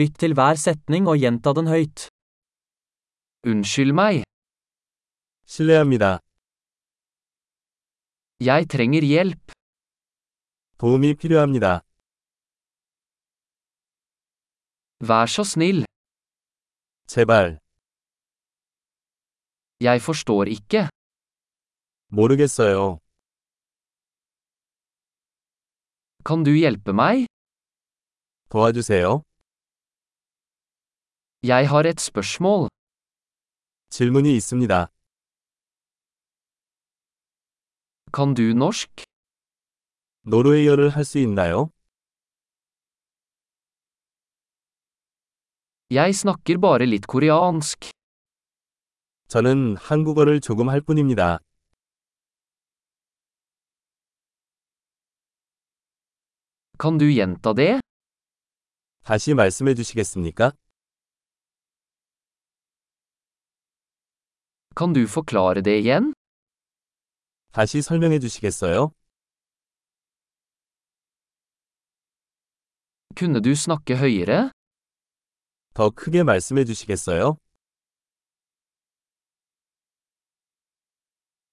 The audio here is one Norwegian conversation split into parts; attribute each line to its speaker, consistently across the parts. Speaker 1: Lytt til hver setning og gjenta den høyt. Unnskyld meg,
Speaker 2: 실례합니다.
Speaker 1: jeg trenger hjelp.
Speaker 2: 도움이 필요합니다.
Speaker 1: Vær så snill,
Speaker 2: 제발.
Speaker 1: jeg forstår ikke.
Speaker 2: 모르겠어요.
Speaker 1: Kan du hjelpe meg?
Speaker 2: 도와주세요.
Speaker 1: Jeg har et spørsmål.
Speaker 2: 질문이 있습니다.
Speaker 1: Kan du norsk?
Speaker 2: 노르웨이어를 할 수 있나요?
Speaker 1: Jeg snakker bare litt koreansk.
Speaker 2: 저는 한국어를 조금 할 뿐입니다.
Speaker 1: Kan du gjenta det?
Speaker 2: 다시 말씀해 주시겠습니까?
Speaker 1: Kan du forklare det igjen?
Speaker 2: 다시 설명해 주시겠어요?
Speaker 1: Kunne du snakke høyere?
Speaker 2: 더 크게 말씀해 주시겠어요?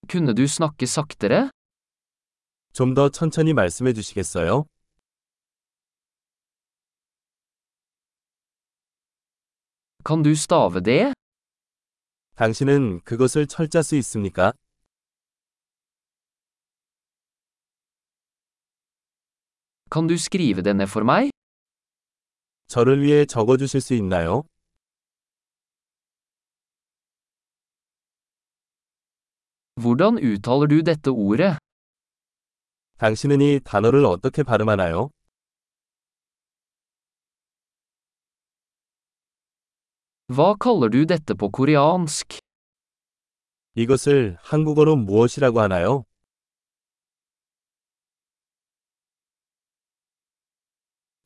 Speaker 1: Kunne du snakke saktere?
Speaker 2: 좀 더 천천히 말씀해 주시겠어요?
Speaker 1: Kan du stave det?
Speaker 2: 당신은 그것을 철자 수 있습니까?
Speaker 1: Kan du skrive det ned for meg?
Speaker 2: 저를 위해 적어 주실 수 있나요?
Speaker 1: Hvordan uttaler du dette ordet?
Speaker 2: 당신은 이 단어를 어떻게 발음하나요?
Speaker 1: Hva kaller du dette på koreansk?
Speaker 2: 이것을 한국어로 무엇이라고 하나요?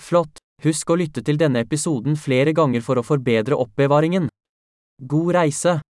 Speaker 1: Flott! Husk å lytte til denne episoden flere ganger for å forbedre oppbevaringen. God reise!